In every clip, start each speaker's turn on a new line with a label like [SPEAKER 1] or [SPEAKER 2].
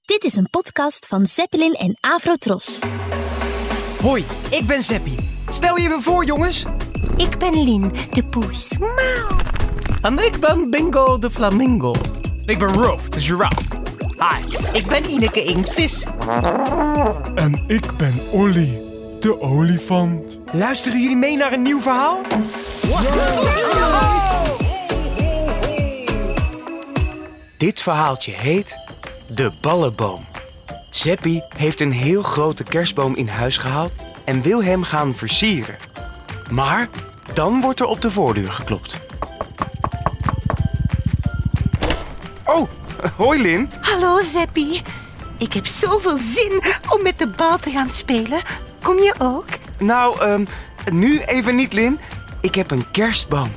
[SPEAKER 1] Dit is een podcast van Zeppelin en Avrotros.
[SPEAKER 2] Hoi, ik ben Zeppie. Stel je even voor, jongens.
[SPEAKER 3] Ik ben Lin, de poes. Mauw.
[SPEAKER 4] En ik ben Bingo de Flamingo.
[SPEAKER 5] Ik ben Rolf, de giraffe.
[SPEAKER 6] Hi, ik ben Ineke Inktvis.
[SPEAKER 7] En ik ben Olly, de olifant.
[SPEAKER 2] Luisteren jullie mee naar een nieuw verhaal? Wow.
[SPEAKER 8] Dit verhaaltje heet De Ballenboom. Zeppie heeft een heel grote kerstboom in huis gehaald en wil hem gaan versieren. Maar dan wordt er op de voordeur geklopt. Oh, hoi Lin.
[SPEAKER 3] Hallo Zeppie. Ik heb zoveel zin om met de bal te gaan spelen. Kom je ook?
[SPEAKER 8] Nou, ehm, nu even niet Lin. Ik heb een kerstboom.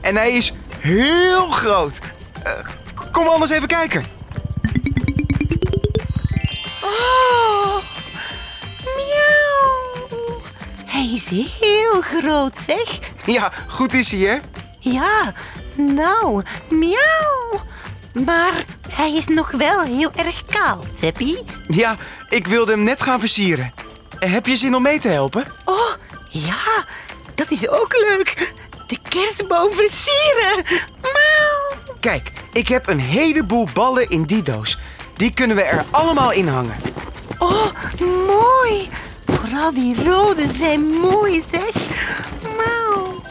[SPEAKER 8] En hij is heel groot. Eh, k- kom anders even kijken.
[SPEAKER 3] Oh, miauw. Hij is heel groot, zeg.
[SPEAKER 8] Ja, goed is hij hè?
[SPEAKER 3] Ja, nou, miauw. Maar hij is nog wel heel erg kaal, Zeppie.
[SPEAKER 8] Ja, ik wilde hem net gaan versieren. Eh, Heb je zin om mee te helpen?
[SPEAKER 3] Oh, ja, dat is ook leuk. De kerstboom versieren. Miauw.
[SPEAKER 8] Kijk, ik heb een heleboel ballen in die doos. Die kunnen we er allemaal in hangen.
[SPEAKER 3] Oh, mooi. Vooral die rode zijn mooi, zeg. Mauw.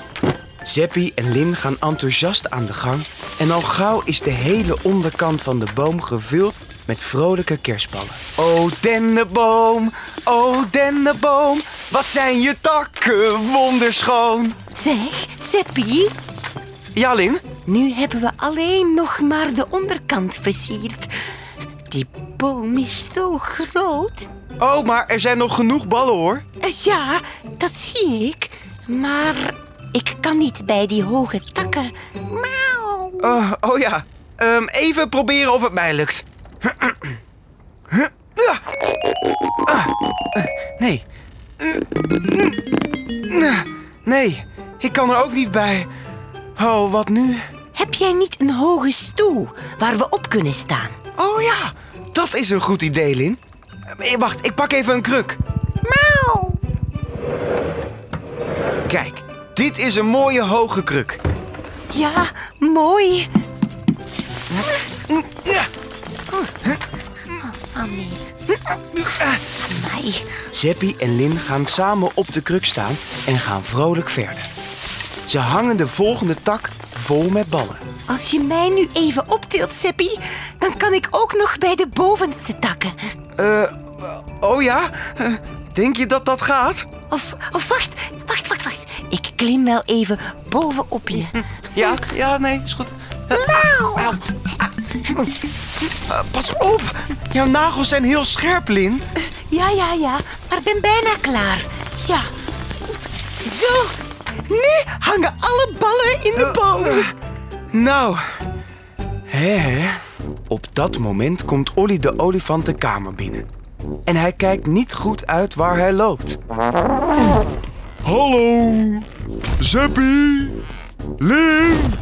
[SPEAKER 8] Zeppie en Lin gaan enthousiast aan de gang. En al gauw is de hele onderkant van de boom gevuld met vrolijke kerstballen. O dennenboom, o dennenboom, wat zijn je takken wonderschoon.
[SPEAKER 3] Zeg, Zeppie,
[SPEAKER 8] Ja, Lin?
[SPEAKER 3] nu hebben we alleen nog maar de onderkant versierd. Die boom is zo groot.
[SPEAKER 8] Oh, maar er zijn nog genoeg ballen hoor.
[SPEAKER 3] Eh, Ja, dat zie ik. Maar ik kan niet bij die hoge takken. Mauw.
[SPEAKER 8] Oh, oh ja. Ehm, even proberen of het mij lukt. Huh? Ah. Ah. Eh, Nee. Eh, Nee, ik kan er ook niet bij. Oh, wat nu?
[SPEAKER 3] Heb jij niet een hoge stoel waar we op kunnen staan?
[SPEAKER 8] Oh ja, dat is een goed idee, Lin. Eh, Wacht, ik pak even een kruk.
[SPEAKER 3] Mauw.
[SPEAKER 8] Kijk, dit is een mooie hoge kruk.
[SPEAKER 3] Ja, mooi.
[SPEAKER 8] Ja.
[SPEAKER 3] Oh nee. Amai.
[SPEAKER 8] Zeppie en Lin gaan samen op de kruk staan en gaan vrolijk verder. Ze hangen de volgende tak vol met ballen.
[SPEAKER 3] Als je mij nu even optilt, Seppie, dan kan ik ook nog bij de bovenste takken.
[SPEAKER 8] Eh, oh ja? Eh, Denk je dat dat gaat?
[SPEAKER 3] Of, of wacht, wacht, wacht, wacht. Ik klim wel even bovenop je.
[SPEAKER 8] Ja, ja, nee, is goed. Eh,
[SPEAKER 3] Wauw.
[SPEAKER 8] au. Ah, eh, pas op! Jouw nagels zijn heel scherp, Lin.
[SPEAKER 3] Ja, ja, ja, maar ben bijna klaar. Ja. Zo, nu hangen alle ballen in de boom.
[SPEAKER 8] Eh, Nou, hè, hè. Op dat moment komt Olly de olifant de kamer binnen. En hij kijkt niet goed uit waar hij loopt.
[SPEAKER 7] Hallo, Zeppie, Lin.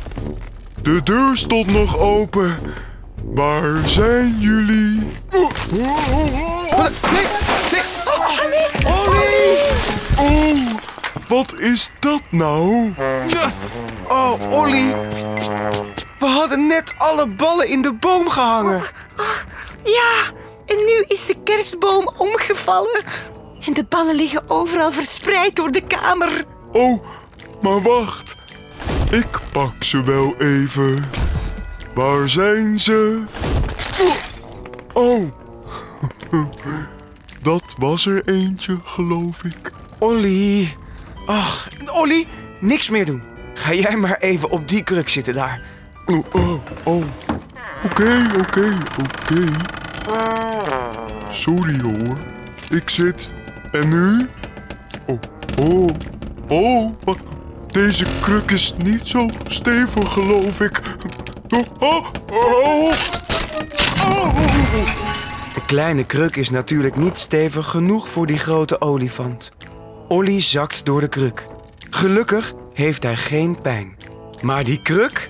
[SPEAKER 7] De deur stond nog open. Waar zijn jullie?
[SPEAKER 8] Nee, Oh, nee, Olly!
[SPEAKER 7] Oh, wat is dat nou?
[SPEAKER 8] Oh, Olly. We hadden net alle ballen in de boom gehangen.
[SPEAKER 3] Ja, en nu is de kerstboom omgevallen. En de ballen liggen overal verspreid door de kamer.
[SPEAKER 7] Oh, maar wacht. Ik pak ze wel even. Waar zijn ze? Oh, dat was er eentje, geloof ik.
[SPEAKER 8] Olly. Ach, Olly, niks meer doen. Ga jij maar even op die kruk zitten daar.
[SPEAKER 7] Oh, oh, oh. Oké, oké, oké. Sorry hoor. Ik zit. En nu? Oh, oh, oh. wa- Deze kruk is niet zo stevig, geloof ik. Oh, oh, oh. oh.
[SPEAKER 8] De kleine kruk is natuurlijk niet stevig genoeg voor die grote olifant. Olly zakt door de kruk. Gelukkig heeft hij geen pijn. Maar die kruk,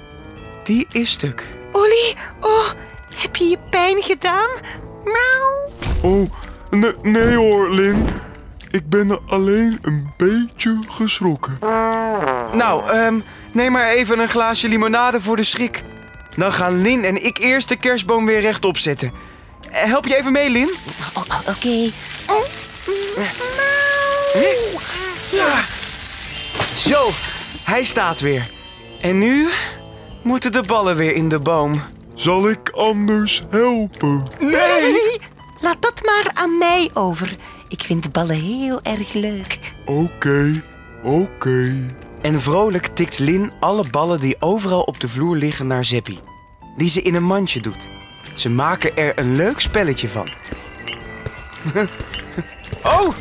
[SPEAKER 8] die is stuk.
[SPEAKER 3] Olly, oh, heb je je pijn gedaan? Mauw.
[SPEAKER 7] nee, nee hoor, Lin. Ik ben alleen een beetje geschrokken.
[SPEAKER 8] Nou, ehm, neem maar even een glaasje limonade voor de schrik. Dan gaan Lin en ik eerst de kerstboom weer rechtop zetten. Eh, Help je even mee, Lin?
[SPEAKER 3] Oh, oh, Oké. Oh,
[SPEAKER 8] Hé? Hm? Ja. Zo, hij staat weer. En nu moeten de ballen weer in de boom.
[SPEAKER 7] Zal ik anders helpen?
[SPEAKER 3] nee. eh, Laat dat maar aan mij over. Ik vind de ballen heel erg leuk.
[SPEAKER 7] Oké, oké.
[SPEAKER 8] En vrolijk tikt Lin alle ballen die overal op de vloer liggen naar Zeppie. Die ze in een mandje doet. Ze maken er een leuk spelletje van. Oh!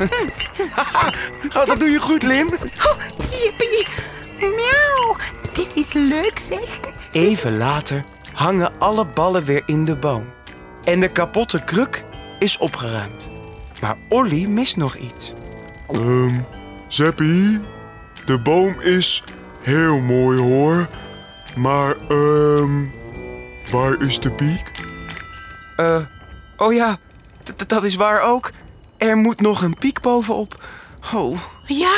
[SPEAKER 8] oh, dat doe je goed, Lin.
[SPEAKER 3] Oh, jippie. Miauw. Dit is leuk, zeg.
[SPEAKER 8] Even later hangen alle ballen weer in de boom. En de kapotte kruk is opgeruimd. Maar Olly mist nog iets.
[SPEAKER 7] Ehm, Zeppie, de boom is heel mooi hoor. Maar ehm, waar is de piek?
[SPEAKER 8] Eh, oh ja, d- d- dat is waar ook. Er moet nog een piek bovenop. Oh,
[SPEAKER 3] Ja,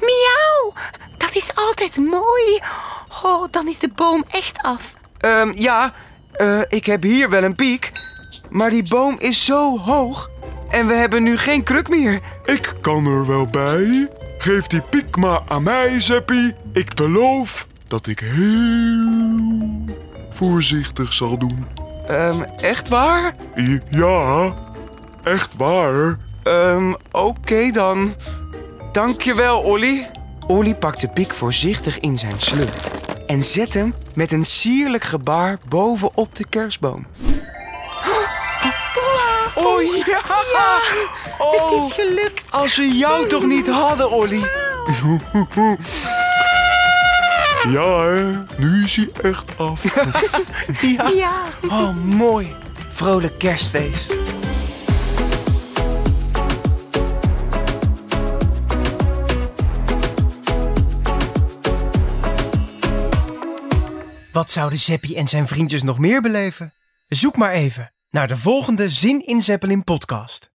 [SPEAKER 3] miauw. Dat is altijd mooi. Oh, dan is de boom echt af.
[SPEAKER 8] ehm, ja, eh, ik heb hier wel een piek. Maar die boom is zo hoog. En we hebben nu geen kruk meer.
[SPEAKER 7] Ik kan er wel bij. Geef die piek maar aan mij, Zeppie. Ik beloof dat ik heel voorzichtig zal doen.
[SPEAKER 8] Ehm, echt waar?
[SPEAKER 7] I- Ja, echt waar.
[SPEAKER 8] Ehm, oké dan. Dankjewel, Olly. Olly pakt de piek voorzichtig in zijn slurp en zet hem met een sierlijk gebaar bovenop de kerstboom. Oh ja!
[SPEAKER 3] Het
[SPEAKER 8] Oh,
[SPEAKER 3] is gelukt.
[SPEAKER 8] als we jou toch niet hadden, Olly.
[SPEAKER 7] Ja, hè? nu is hij echt af.
[SPEAKER 3] Ja.
[SPEAKER 8] Oh, mooi. Vrolijk kerstfeest.
[SPEAKER 4] Wat zouden Zeppie en zijn vriendjes nog meer beleven? Zoek maar even naar de volgende Zin in Zeppelin podcast.